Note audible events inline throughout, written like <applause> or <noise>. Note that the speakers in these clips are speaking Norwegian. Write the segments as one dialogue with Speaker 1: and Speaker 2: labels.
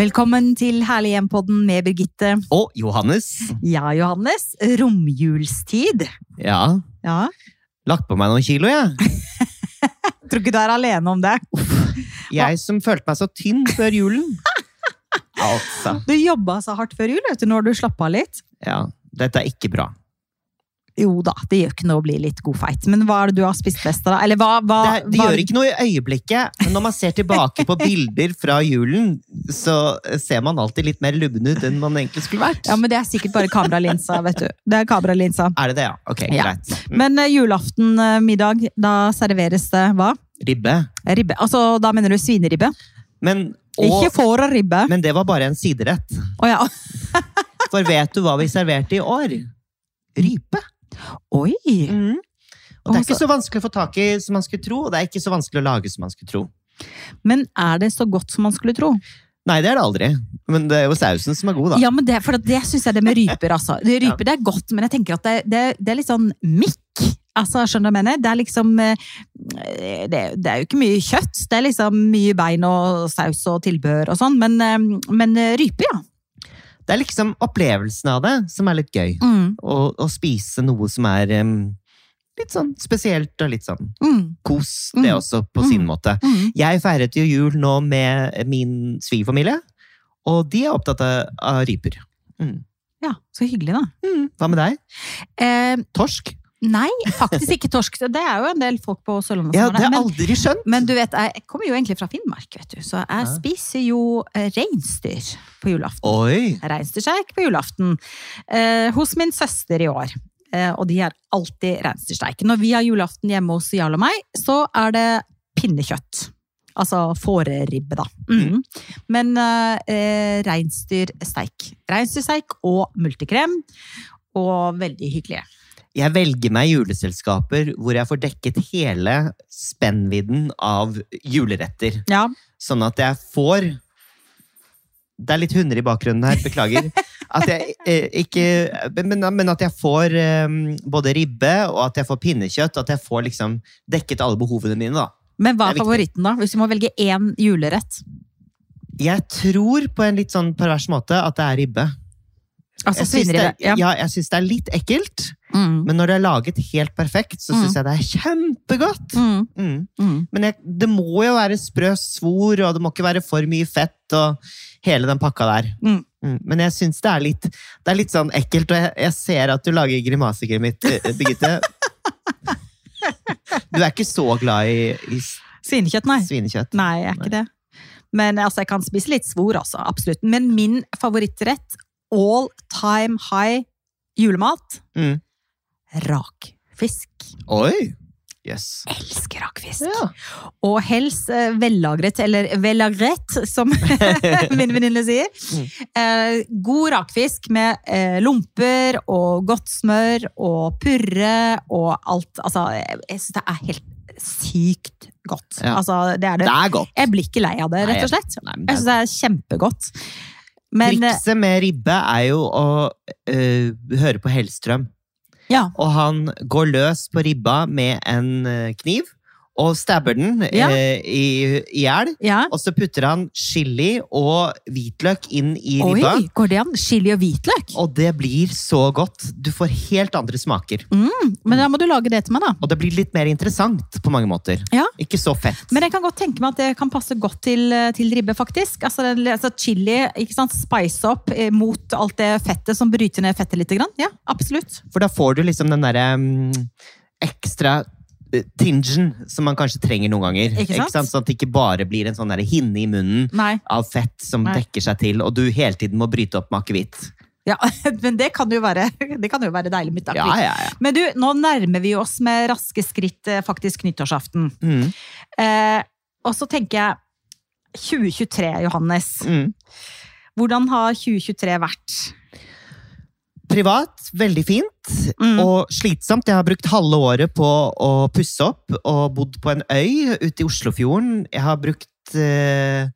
Speaker 1: Velkommen til Herlig hjem-podden med Birgitte.
Speaker 2: Og Johannes.
Speaker 1: Ja, Johannes. Romjulstid.
Speaker 2: Ja.
Speaker 1: Ja.
Speaker 2: Lagt på meg noen kilo, jeg.
Speaker 1: Tror ikke du er alene om det.
Speaker 2: Jeg som følte meg så tynn før julen. Altså.
Speaker 1: Du jobba så hardt før jul. vet du. Nå har du slappa av litt.
Speaker 2: Ja. Dette er ikke bra.
Speaker 1: Jo da, det gjør ikke noe å bli litt godfeit. Men hva er det du har spist best av, da? Eller hva, hva,
Speaker 2: Det, er- det
Speaker 1: hva
Speaker 2: gjør ikke noe i øyeblikket, men når man ser tilbake på bilder fra julen, så ser man alltid litt mer lubben ut enn man egentlig skulle vært.
Speaker 1: Ja, men det er sikkert bare kameralinsa, vet du. Det er kameralinsa.
Speaker 2: Er det det, ja? Ok,
Speaker 1: Ja.
Speaker 2: greit.
Speaker 1: Men eh, julaften eh, middag, da serveres det hva?
Speaker 2: Ribbe.
Speaker 1: Ribbe. Altså, da mener du svineribbe?
Speaker 2: Men,
Speaker 1: Ikke
Speaker 2: og,
Speaker 1: får og ribbe.
Speaker 2: men det var bare en siderett.
Speaker 1: Å ja.
Speaker 2: For vet du hva vi serverte i år? Rype.
Speaker 1: Oi!
Speaker 2: Og det Mm, er
Speaker 1: Altså-
Speaker 2: ikke så vanskelig å få tak i som man skulle tro, og det er ikke så vanskelig å lage som man skulle tro.
Speaker 1: Men er det så godt som man skulle tro?
Speaker 2: Nei, det er det aldri. Men det er jo sausen som er god, da.
Speaker 1: Ja, men det, for det syns jeg det med ryper, altså. Det, ryper det er godt, men jeg tenker at det, det, det er litt sånn mikk. Altså, skjønner du hva jeg mener? Det er liksom eh, det, det er jo ikke mye kjøtt. Det er liksom mye bein og saus og tilbør og sånn, men, eh, men eh, rype, ja.
Speaker 2: Det er liksom opplevelsen av det som er litt gøy.
Speaker 1: Mm,
Speaker 2: Å, å spise noe som er em, litt sånn spesielt og litt sånn
Speaker 1: mm,
Speaker 2: kos, det
Speaker 1: Mm.
Speaker 2: også, på sin
Speaker 1: Mm.
Speaker 2: måte.
Speaker 1: mm.
Speaker 2: Jeg feiret jo jul nå med min svigerfamilie, og de er opptatt av, av ryper. Mm.
Speaker 1: Ja, så hyggelig, da.
Speaker 2: Mm. Hva med deg?
Speaker 1: Eh,
Speaker 2: Torsk?
Speaker 1: nei, faktisk ikke torsk. Det er jo en del folk på Sørlandet
Speaker 2: Ja,
Speaker 1: som har det.
Speaker 2: det har jeg
Speaker 1: Men,
Speaker 2: aldri skjønt.
Speaker 1: men du vet, jeg kommer jo egentlig fra Finnmark, vet du, så jeg
Speaker 2: Ja.
Speaker 1: spiser jo eh, reinsdyr på julaften.
Speaker 2: Oi!
Speaker 1: reinsdyrsteik på julaften eh, hos min søster i år. Eh, og de har alltid reinsdyrsteik. Når vi har julaften hjemme hos Jarl og meg, så er det pinnekjøtt. Altså fåreribbe, da. Mm. Men eh, eh, reinsdyrsteik. Reinsdyrsteik og multekrem. Og veldig hyggelige.
Speaker 2: Jeg velger meg juleselskaper hvor jeg får dekket hele spennvidden av juleretter.
Speaker 1: Ja,
Speaker 2: sånn at jeg får Det er litt hunder i bakgrunnen her, beklager. <laughs> At jeg eh, ikke Men, men at jeg får eh, både ribbe og at jeg får pinnekjøtt. At jeg får liksom dekket alle behovene mine, da.
Speaker 1: Men hva
Speaker 2: Det
Speaker 1: er
Speaker 2: er viktig.
Speaker 1: favoritten, da? Hvis du må velge én julerett?
Speaker 2: Jeg tror på en litt sånn pervers måte at det er ribbe.
Speaker 1: Altså
Speaker 2: Jeg syns det,
Speaker 1: svineribbe.
Speaker 2: ja.
Speaker 1: Ja.
Speaker 2: jeg syns det er litt ekkelt,
Speaker 1: Mm.
Speaker 2: men når det er laget helt perfekt, så syns jeg det er kjempegodt.
Speaker 1: Mm.
Speaker 2: Mm.
Speaker 1: Mm.
Speaker 2: Men jeg, det må jo være sprø svor, og det må ikke være for mye fett og hele den pakka der.
Speaker 1: Mm.
Speaker 2: Men jeg syns det er litt Det er litt sånn ekkelt, og jeg, jeg ser at du lager grimaser, mitt, eh,
Speaker 1: <laughs>
Speaker 2: Birgitte. Du er ikke så glad i, i s-
Speaker 1: Svinekjøtt, nei.
Speaker 2: svinekjøtt.
Speaker 1: Nei, jeg er ikke det. Men altså, jeg kan spise litt svor, altså. Absolutt. Men min favorittrett, all time high julemat,
Speaker 2: Mm.
Speaker 1: rakfisk.
Speaker 2: Oi! Jøss. Yes.
Speaker 1: Elsker rakfisk.
Speaker 2: Ja.
Speaker 1: Og helst eh, vellagret, eller vellagret, som <laughs> min venninne sier. Eh, god rakfisk med eh, lomper og godt smør og purre og alt. Altså, jeg, jeg syns det er helt sykt godt.
Speaker 2: Ja.
Speaker 1: Altså, det er det.
Speaker 2: Det er godt.
Speaker 1: Jeg blir ikke lei av det,
Speaker 2: Nei,
Speaker 1: rett og slett.
Speaker 2: Nei, men
Speaker 1: Jeg
Speaker 2: det er
Speaker 1: syns det er kjempegodt. Men eh,
Speaker 2: Trikset med ribbe er jo å eh, høre på Hellstrøm.
Speaker 1: ja,
Speaker 2: Og han går løs på ribba med en eh, kniv og stabber den
Speaker 1: Ja.
Speaker 2: eh, i i hjel.
Speaker 1: ja.
Speaker 2: Og så putter han chili og hvitløk inn i
Speaker 1: Oi,
Speaker 2: ribba.
Speaker 1: går det an? Chili og hvitløk?
Speaker 2: Og det blir så godt. Du får helt andre smaker.
Speaker 1: Men da må du lage det til meg, da.
Speaker 2: Og det blir litt mer interessant på mange måter.
Speaker 1: Ja.
Speaker 2: Ikke så fett.
Speaker 1: Men jeg kan godt tenke meg at det kan passe godt til, eh, til ribbe, faktisk. Altså, det, altså chili, ikke sant? spice opp eh, mot alt det fettet som bryter ned fettet litt. Grann. Ja, absolutt.
Speaker 2: For da får du liksom den derre mm, ekstra eh, tingen som man kanskje trenger noen ganger.
Speaker 1: Ikke sant?
Speaker 2: Sånn at det ikke bare blir en sånn derre hinne i munnen
Speaker 1: Nei.
Speaker 2: av fett som
Speaker 1: Nei.
Speaker 2: dekker seg til, og du hele tiden må bryte opp med akevitt.
Speaker 1: Ja, <laughs> men det kan jo være, <laughs> det kan jo være deilig mitt.
Speaker 2: Ja, ja, ja.
Speaker 1: Men du, nå nærmer vi oss med raske skritt eh, faktisk nyttårsaften.
Speaker 2: Mm,
Speaker 1: Eh, og så tenker jeg 2023, Johannes.
Speaker 2: mm.
Speaker 1: Hvordan har 2023 vært?
Speaker 2: Privat, veldig fint
Speaker 1: Mm.
Speaker 2: og slitsomt. Jeg har brukt halve året på å pusse opp og bodd på en øy ute i Oslofjorden. Jeg har brukt eh,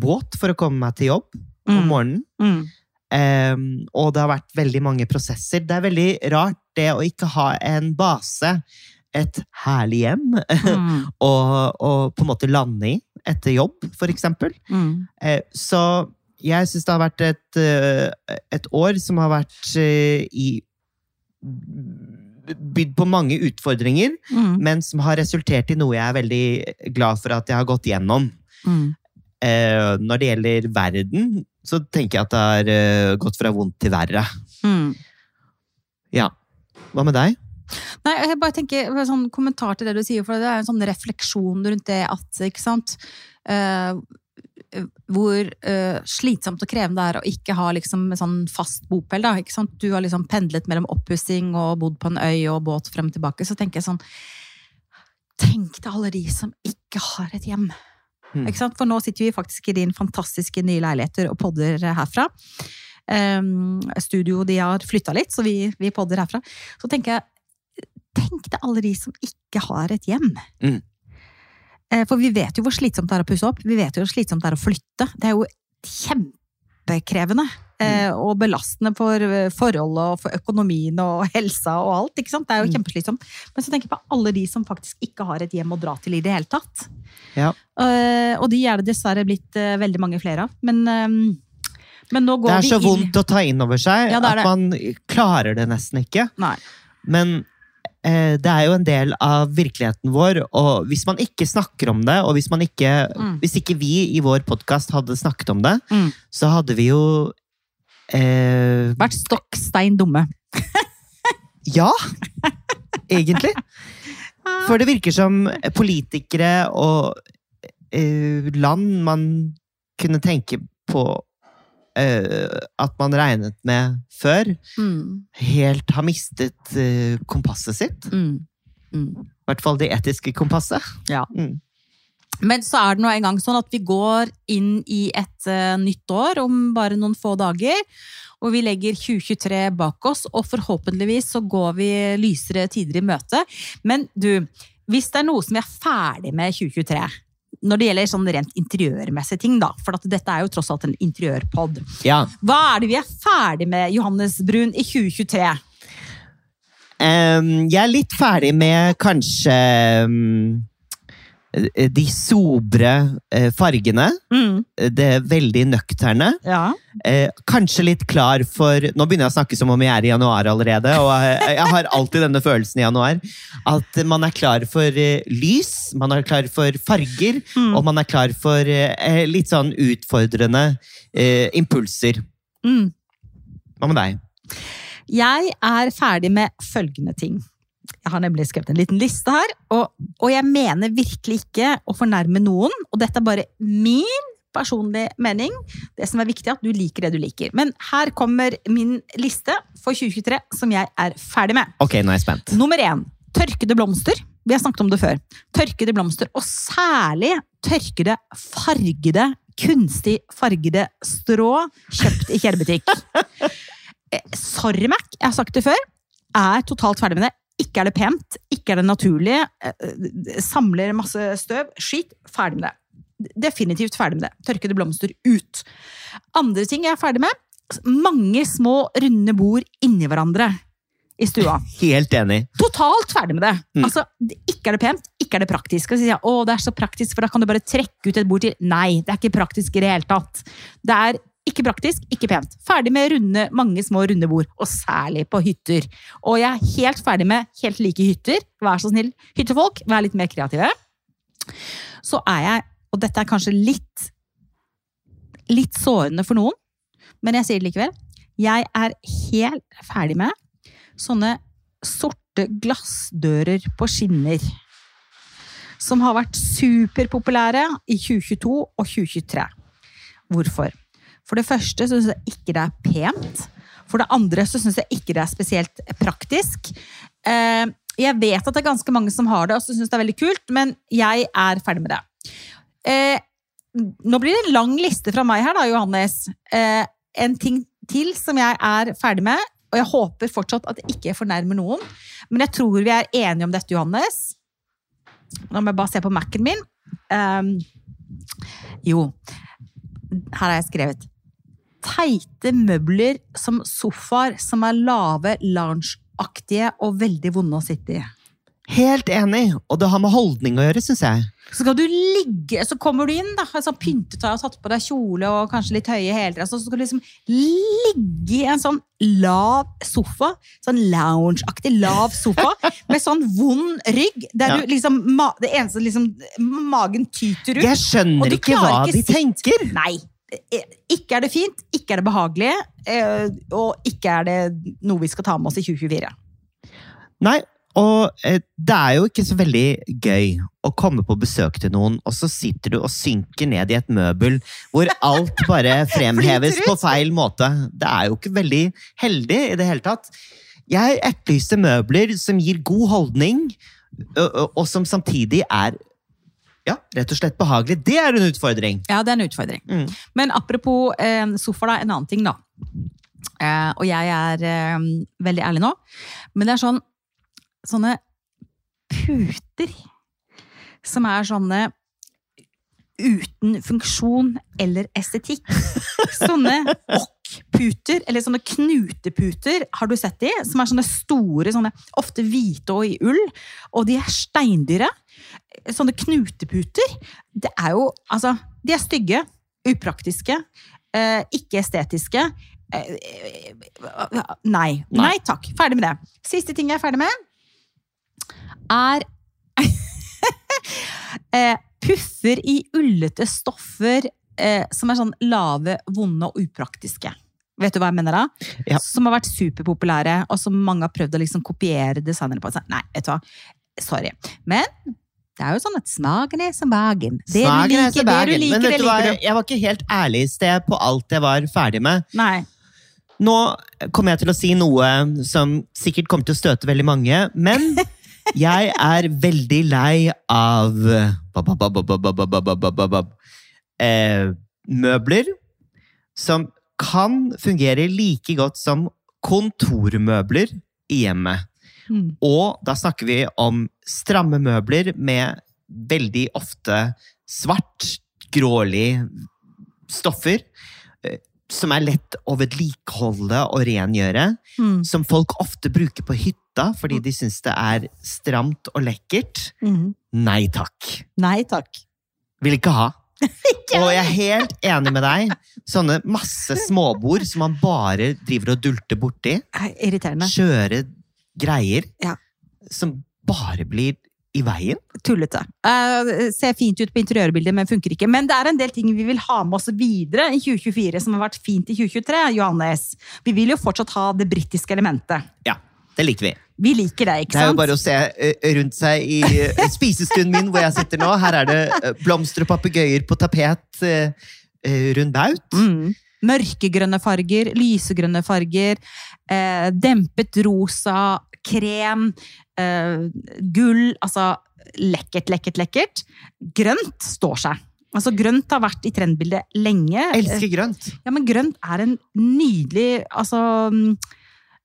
Speaker 2: båt for å komme meg til jobb om
Speaker 1: Mm.
Speaker 2: morgenen.
Speaker 1: Mm.
Speaker 2: Em, Ehm, og det har vært veldig mange prosesser. Det er veldig rart det å ikke ha en base, et herlig hjem,
Speaker 1: Mm.
Speaker 2: <laughs> å på en måte lande i etter jobb, for eksempel.
Speaker 1: Mm.
Speaker 2: Eh, så jeg syns det har vært et, eh, et år som har vært eh, i Bydd på mange utfordringer,
Speaker 1: Mm,
Speaker 2: men som har resultert i noe jeg er veldig glad for at jeg har gått gjennom.
Speaker 1: mm.
Speaker 2: Eh, når det gjelder verden, så tenker jeg at det har eh, gått fra vondt til verre.
Speaker 1: Mm.
Speaker 2: Ja. Hva med deg?
Speaker 1: Nei, jeg bare tenker bare sånn kommentar til det du sier, for det er en sånn refleksjon rundt det at, ikke sant Eh, Hvor eh, slitsomt og krevende det er å ikke ha liksom en sånn fast bopel, da. Ikke sant? Du har liksom pendlet mellom oppussing og bodd på en øy og båt frem og tilbake. Så tenker jeg sånn Tenk til alle de som ikke har et hjem.
Speaker 2: Mm.
Speaker 1: Ikke sant? For nå sitter vi faktisk i din fantastiske nye leiligheter og podder herfra. Um, studio de har flytta litt, så vi, vi podder herfra. Så tenker jeg Tenk til alle de som ikke har et hjem.
Speaker 2: Mm.
Speaker 1: Eh, For vi vet jo hvor slitsomt det er å pusse opp. Vi vet jo hvor slitsomt det er å flytte. Det er jo kjempekrevende. eh,
Speaker 2: Mm.
Speaker 1: Og belastende for eh, forholdet og for økonomien og <laughs> helsa og alt. ikke sant? Det er jo
Speaker 2: Mm.
Speaker 1: kjempeslitsomt. Men så tenker jeg på alle de som faktisk ikke har et hjem å dra til i det hele tatt.
Speaker 2: Ja.
Speaker 1: Eh, Og de er det dessverre blitt eh, veldig mange flere av. Men, eh, men nå
Speaker 2: Det
Speaker 1: går
Speaker 2: er så
Speaker 1: vi inn
Speaker 2: vondt å ta inn over seg
Speaker 1: Ja, det er det.
Speaker 2: at man klarer det nesten ikke.
Speaker 1: Nei.
Speaker 2: Men eh, det er jo en del av virkeligheten vår, og hvis man ikke snakker om det, og hvis, man ikke,
Speaker 1: Mm.
Speaker 2: hvis ikke vi i vår podkast hadde snakket om det,
Speaker 1: Mm.
Speaker 2: så hadde vi jo eh,
Speaker 1: Vært stokk stein dumme.
Speaker 2: Ja,
Speaker 1: <laughs>
Speaker 2: egentlig. For det virker som politikere og eh, land man kunne tenke på eh, at man regnet med før,
Speaker 1: Mm.
Speaker 2: helt har mistet eh, kompasset sitt.
Speaker 1: Mm. Mm.
Speaker 2: I hvert fall det etiske kompasset.
Speaker 1: Ja.
Speaker 2: Mm.
Speaker 1: Men så er det nå en gang sånn at vi går inn i et eh, nytt år om bare noen få dager. Og vi legger 2023 bak oss, og forhåpentligvis så går vi lysere tider i møte. Men du, hvis det er noe som vi er ferdig med i 2023 når det gjelder sånn rent interiørmessige ting, da, for at dette er jo tross alt en interiørpod.
Speaker 2: ja.
Speaker 1: Hva er det vi er ferdig med, Johannes Brun, i 2023?
Speaker 2: Em, jeg er litt ferdig med kanskje em, eh, de sobre eh, fargene. Det veldig nøkterne.
Speaker 1: Ja.
Speaker 2: Eh, kanskje litt klar for Nå begynner jeg å snakke som om jeg er i januar allerede, og eh, jeg, jeg har alltid denne følelsen i januar. At man er klar for eh, lys, man er klar for farger,
Speaker 1: Mm.
Speaker 2: og man er klar for eh, litt sånn utfordrende eh, impulser.
Speaker 1: Mm.
Speaker 2: Hva med deg?
Speaker 1: Jeg er ferdig med følgende ting. Jeg har nemlig skrevet en liten liste her, og, og jeg mener virkelig ikke å fornærme noen. Og dette er bare min personlige mening. Det som er viktig, er at du liker det du liker. Men her kommer min liste for 2023 som jeg er ferdig med.
Speaker 2: Ok, nå er jeg spent.
Speaker 1: Nummer én tørkede blomster. Vi har snakket om det før. Tørkede blomster, og særlig tørkede, fargede, kunstig fargede strå kjøpt i kjærbutikk. Sorry, Mac, jeg har sagt det før. Er totalt ferdig med det. Ikke er det pent, ikke er det naturlig. eh, eh, Samler masse støv. Skitt. Ferdig med det. Definitivt ferdig med det. Tørkede blomster ut. Andre ting jeg er ferdig med. Mange små, runde bord inni hverandre i stua.
Speaker 2: Helt enig.
Speaker 1: Totalt ferdig med det.
Speaker 2: Mm.
Speaker 1: Altså, det- Ikke er det pent, ikke er det praktisk. Og så sier jeg, å, det er så praktisk, for da kan du bare trekke ut et bord til. Nei, det er ikke praktisk i det hele tatt. Det er ikke praktisk, ikke pent. Ferdig med runde, mange små runde bord, og særlig på hytter. Og jeg er helt ferdig med helt like hytter. Vær så snill, hyttefolk, vær litt mer kreative. Så er jeg, og dette er kanskje litt, litt sårende for noen, men jeg sier det likevel, jeg er helt ferdig med sånne sorte glassdører på skinner. Som har vært superpopulære i 2022 og 2023. Hvorfor? For det første så syns jeg ikke det er pent. For det andre så syns jeg ikke det er spesielt praktisk. Eh, Jeg vet at det er ganske mange som har det og som syns det er veldig kult, men jeg er ferdig med det. Eh, Nå blir det en lang liste fra meg her, da, Johannes. Eh, En ting til som jeg er ferdig med, og jeg håper fortsatt at det ikke fornærmer noen. Men jeg tror vi er enige om dette, Johannes. Nå må jeg bare se på Mac-en min. Ehm, jo, her har jeg skrevet. Teite møbler som sofaer som er lave, loungeaktige og veldig vonde å sitte i.
Speaker 2: Helt enig! Og det har med holdning å gjøre, syns jeg.
Speaker 1: Så skal du ligge, så kommer du inn, da, en sånn pyntetøy og tatt på deg kjole og kanskje litt høye hæler, altså, så skal du liksom ligge i en sånn lav sofa, sånn loungeaktig lav sofa,
Speaker 2: <laughs>
Speaker 1: med sånn vond rygg, der
Speaker 2: Ja.
Speaker 1: du liksom, ma det eneste liksom, magen tyter ut.
Speaker 2: Jeg
Speaker 1: Og
Speaker 2: skjønner
Speaker 1: du
Speaker 2: ikke
Speaker 1: klarer
Speaker 2: hva
Speaker 1: ikke
Speaker 2: de
Speaker 1: sitt-
Speaker 2: tenker!
Speaker 1: Nei. eh, Ikke er det fint, ikke er det behagelig, eh, og ikke er det noe vi skal ta med oss i 2024.
Speaker 2: Nei, og eh, det er jo ikke så veldig gøy å komme på besøk til noen, og så sitter du og synker ned i et møbel hvor alt bare
Speaker 1: <laughs>
Speaker 2: fremheves
Speaker 1: Flyter
Speaker 2: på feil måte. Det er jo ikke veldig heldig i det hele tatt. Jeg etterlyser møbler som gir god holdning, ø- ø- og som samtidig er ja, rett og slett behagelig. Det er en utfordring.
Speaker 1: Ja, det er en utfordring.
Speaker 2: Mm.
Speaker 1: Men apropos eh, sofa, da, en annen ting, da. Eh, og jeg er eh, veldig ærlig nå, men det er sånn Sånne puter som er sånne uten funksjon eller estetikk. Sånne okk-puter, eller sånne knuteputer, har du sett de? Som er sånne store, sånne, ofte hvite og i ull. Og de er steindyre. Sånne knuteputer. Det er jo Altså, de er stygge, upraktiske, eh, ikke estetiske. Eh, eh, nei. Nei takk. Ferdig med det. Siste ting jeg er ferdig med, er <laughs> eh, puffer i ullete stoffer eh, som er sånn lave, vonde og upraktiske. Vet du hva jeg mener da?
Speaker 2: Ja.
Speaker 1: Som har vært superpopulære, og som mange har prøvd å liksom kopiere designere på. Så, Nei, vet du hva. Sorry. Men det er jo sånn at smaken er som bagen. Det du
Speaker 2: Smaken er
Speaker 1: liker,
Speaker 2: så
Speaker 1: det du
Speaker 2: bagen. Men
Speaker 1: liker, det
Speaker 2: vet du hva?
Speaker 1: liker du.
Speaker 2: Jeg var ikke helt ærlig i sted på alt jeg var ferdig med.
Speaker 1: Nei.
Speaker 2: Nå kommer jeg til å si noe som sikkert kommer til å støte veldig mange,
Speaker 1: <laughs>
Speaker 2: men jeg er veldig lei av ba, ba, ba, ba, ba, ba, ba, ba, ba, ba, ba, eh, møbler som kan fungere like godt som kontormøbler i hjemmet.
Speaker 1: Mm.
Speaker 2: Og da snakker vi om stramme møbler med veldig ofte svart, grålig stoffer. eh, Som er lett å vedlikeholde og rengjøre.
Speaker 1: Mm.
Speaker 2: Som folk ofte bruker på hytta fordi de syns det er stramt og lekkert.
Speaker 1: Mm.
Speaker 2: Nei takk.
Speaker 1: Nei takk.
Speaker 2: Vil <laughs> ikke ha. Og jeg er helt enig med deg. Sånne masse småbord som man bare driver og dulter borti
Speaker 1: Irriterende.
Speaker 2: skjøre greier
Speaker 1: Ja.
Speaker 2: som bare blir i veien.
Speaker 1: tullete. Eh, ser fint ut på interiørbildet, men funker ikke. Men det er en del ting vi vil ha med oss videre i 2024 som har vært fint i 2023, Johannes. Vi vil jo fortsatt ha det britiske elementet.
Speaker 2: Ja, det liker vi.
Speaker 1: Vi liker det, ikke
Speaker 2: Det er jo
Speaker 1: sant?
Speaker 2: bare å se eh, rundt seg i eh, spisestunden min hvor jeg sitter nå. Her er det eh, blomster og papegøyer på tapet eh, eh, rundt baut.
Speaker 1: Mm. Mørkegrønne farger, lysegrønne farger, eh, dempet rosa, krem, eh, gull. Altså lekkert, lekkert, lekkert. Grønt står seg. Altså Grønt har vært i trendbildet lenge.
Speaker 2: Elsker grønt.
Speaker 1: Ja, men grønt er en nydelig, altså mm,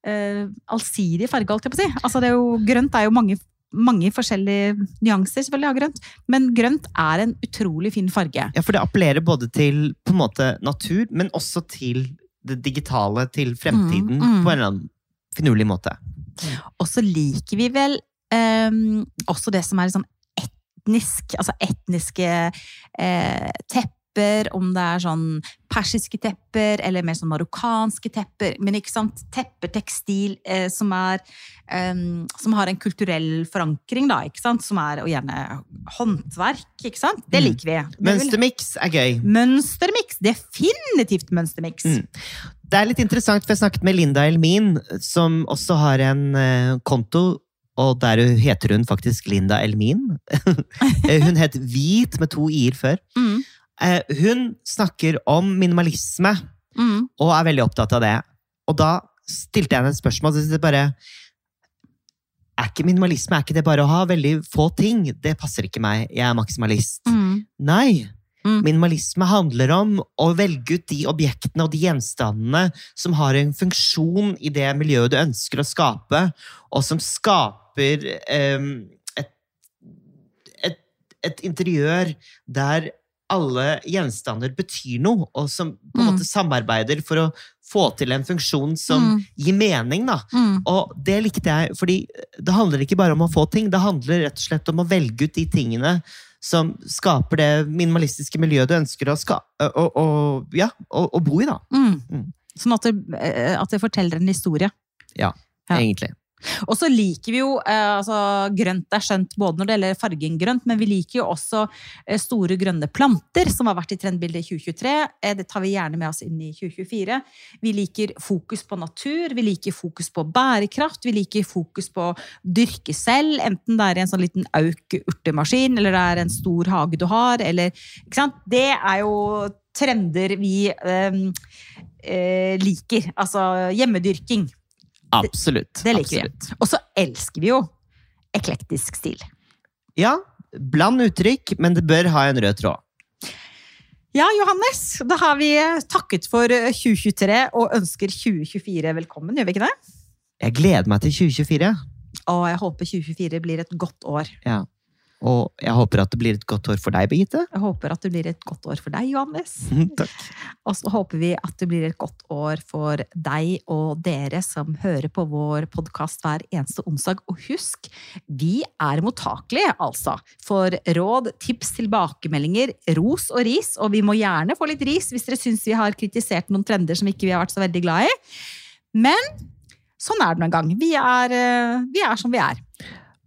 Speaker 1: eh, allsidig farge, alt jeg på å si. Altså, det er jo, grønt er jo mange, mange forskjellige nyanser selvfølgelig av grønt, men grønt er en utrolig fin farge.
Speaker 2: Ja, for det appellerer både til på en måte natur, men også til det digitale, til fremtiden,
Speaker 1: Mm, mm.
Speaker 2: på en eller annen finurlig måte.
Speaker 1: Og så liker vi vel eh, også det som er sånn etnisk, altså etniske eh, tepper, om det er sånn persiske tepper, eller mer sånn marokkanske tepper, men ikke sant, tepper, tekstil, eh, som er eh, som har en kulturell forankring da, ikke sant, som er, og gjerne håndverk, ikke sant, det
Speaker 2: Mm.
Speaker 1: liker vi. Det vil-
Speaker 2: Mønstermiks er gøy.
Speaker 1: Mønstermix, definitivt mønstermix.
Speaker 2: Mm. Det er litt interessant, for jeg snakket med Linda Elmin, som også har en eh, konto, og der heter hun faktisk Linda Elmin. <laughs> Eh, hun het Hvit med to i-er før.
Speaker 1: Mm.
Speaker 2: Eh, hun snakker om minimalisme,
Speaker 1: Mm.
Speaker 2: og er veldig opptatt av det. Og da stilte jeg henne et spørsmål, så jeg bare Er ikke minimalisme er ikke det bare å ha veldig få ting? Det passer ikke meg. Jeg er maksimalist.
Speaker 1: Mm.
Speaker 2: Nei.
Speaker 1: Mm.
Speaker 2: Minimalisme handler om å velge ut de objektene og de gjenstandene som har en funksjon i det miljøet du ønsker å skape, og som skaper ehm, em, et, et, et interiør der alle gjenstander betyr noe, og som på en
Speaker 1: Mm.
Speaker 2: måte samarbeider for å få til en funksjon som gir mening. da.
Speaker 1: Mm.
Speaker 2: Og det likte jeg, fordi det handler ikke bare om å få ting, det handler rett og slett om å velge ut de tingene som skaper det minimalistiske miljøet du ønsker å, ska å, å, ja, å, å bo i, da.
Speaker 1: Mm.
Speaker 2: Mm.
Speaker 1: Sånn at det, eh, at det forteller en historie. Ja.
Speaker 2: Egentlig.
Speaker 1: Og så liker vi jo eh, altså, grønt er skjønt både når det gjelder fargen grønt, men vi liker jo også eh, store grønne planter, som har vært i trendbildet i 2023. Eh, det tar vi gjerne med oss inn i 2024. Vi liker fokus på natur, vi liker fokus på bærekraft, vi liker fokus på å dyrke selv, enten det er i en sånn liten auk urtemaskin, eller det er en stor hage du har, eller Ikke sant? Det er jo trender vi eh, eh, liker. Altså hjemmedyrking.
Speaker 2: Absolutt.
Speaker 1: det liker vi.
Speaker 2: Absolutt.
Speaker 1: Og så elsker vi jo eklektisk stil.
Speaker 2: Ja, bland uttrykk, men det bør ha en rød tråd.
Speaker 1: Ja, Johannes, da har vi eh, takket for 2023 og ønsker 2024 velkommen, gjør vi ikke det?
Speaker 2: Jeg gleder meg til 2024,
Speaker 1: Og jeg håper 2024 blir et godt år.
Speaker 2: og jeg håper at det blir et godt år for deg, Birgitte.
Speaker 1: Jeg håper at det blir et godt år for deg, Johannes.
Speaker 2: Takk.
Speaker 1: Og så håper vi at det blir et godt år for deg og dere som hører på vår podkast hver eneste onsdag. Og husk, vi er mottakelige, altså, for råd, tips, tilbakemeldinger, ros og ris. Og vi må gjerne få litt ris hvis dere syns vi har kritisert noen trender som ikke vi har vært så veldig glad i. Men sånn er det nå en gang. Vi er, eh, vi er som vi er.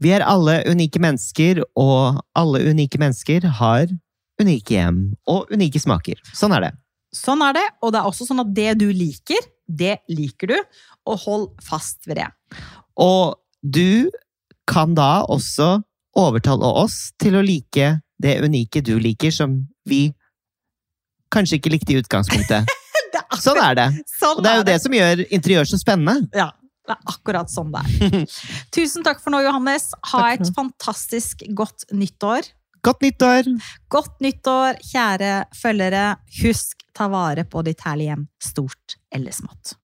Speaker 2: Vi er alle unike mennesker, og alle unike mennesker har unike hjem og unike smaker. Sånn er det.
Speaker 1: Sånn er det. Og det er også sånn at det du liker, det liker du. Og hold fast ved det.
Speaker 2: Og du kan da også overtale oss til å like det unike du liker, som vi kanskje ikke likte i <laughs> utgangspunktet.
Speaker 1: Det er
Speaker 2: Sånn er det.
Speaker 1: Sånn
Speaker 2: Og det er jo det som gjør interiør så spennende.
Speaker 1: Ja, det er akkurat sånn det er.
Speaker 2: <laughs>
Speaker 1: Tusen takk for nå, Johannes. Ha
Speaker 2: Takk for
Speaker 1: et fantastisk godt nyttår.
Speaker 2: Godt nyttår!
Speaker 1: Godt nyttår, kjære følgere. Husk, ta vare på ditt herlige hjem, stort eller smått.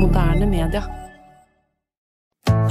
Speaker 3: Moderne media.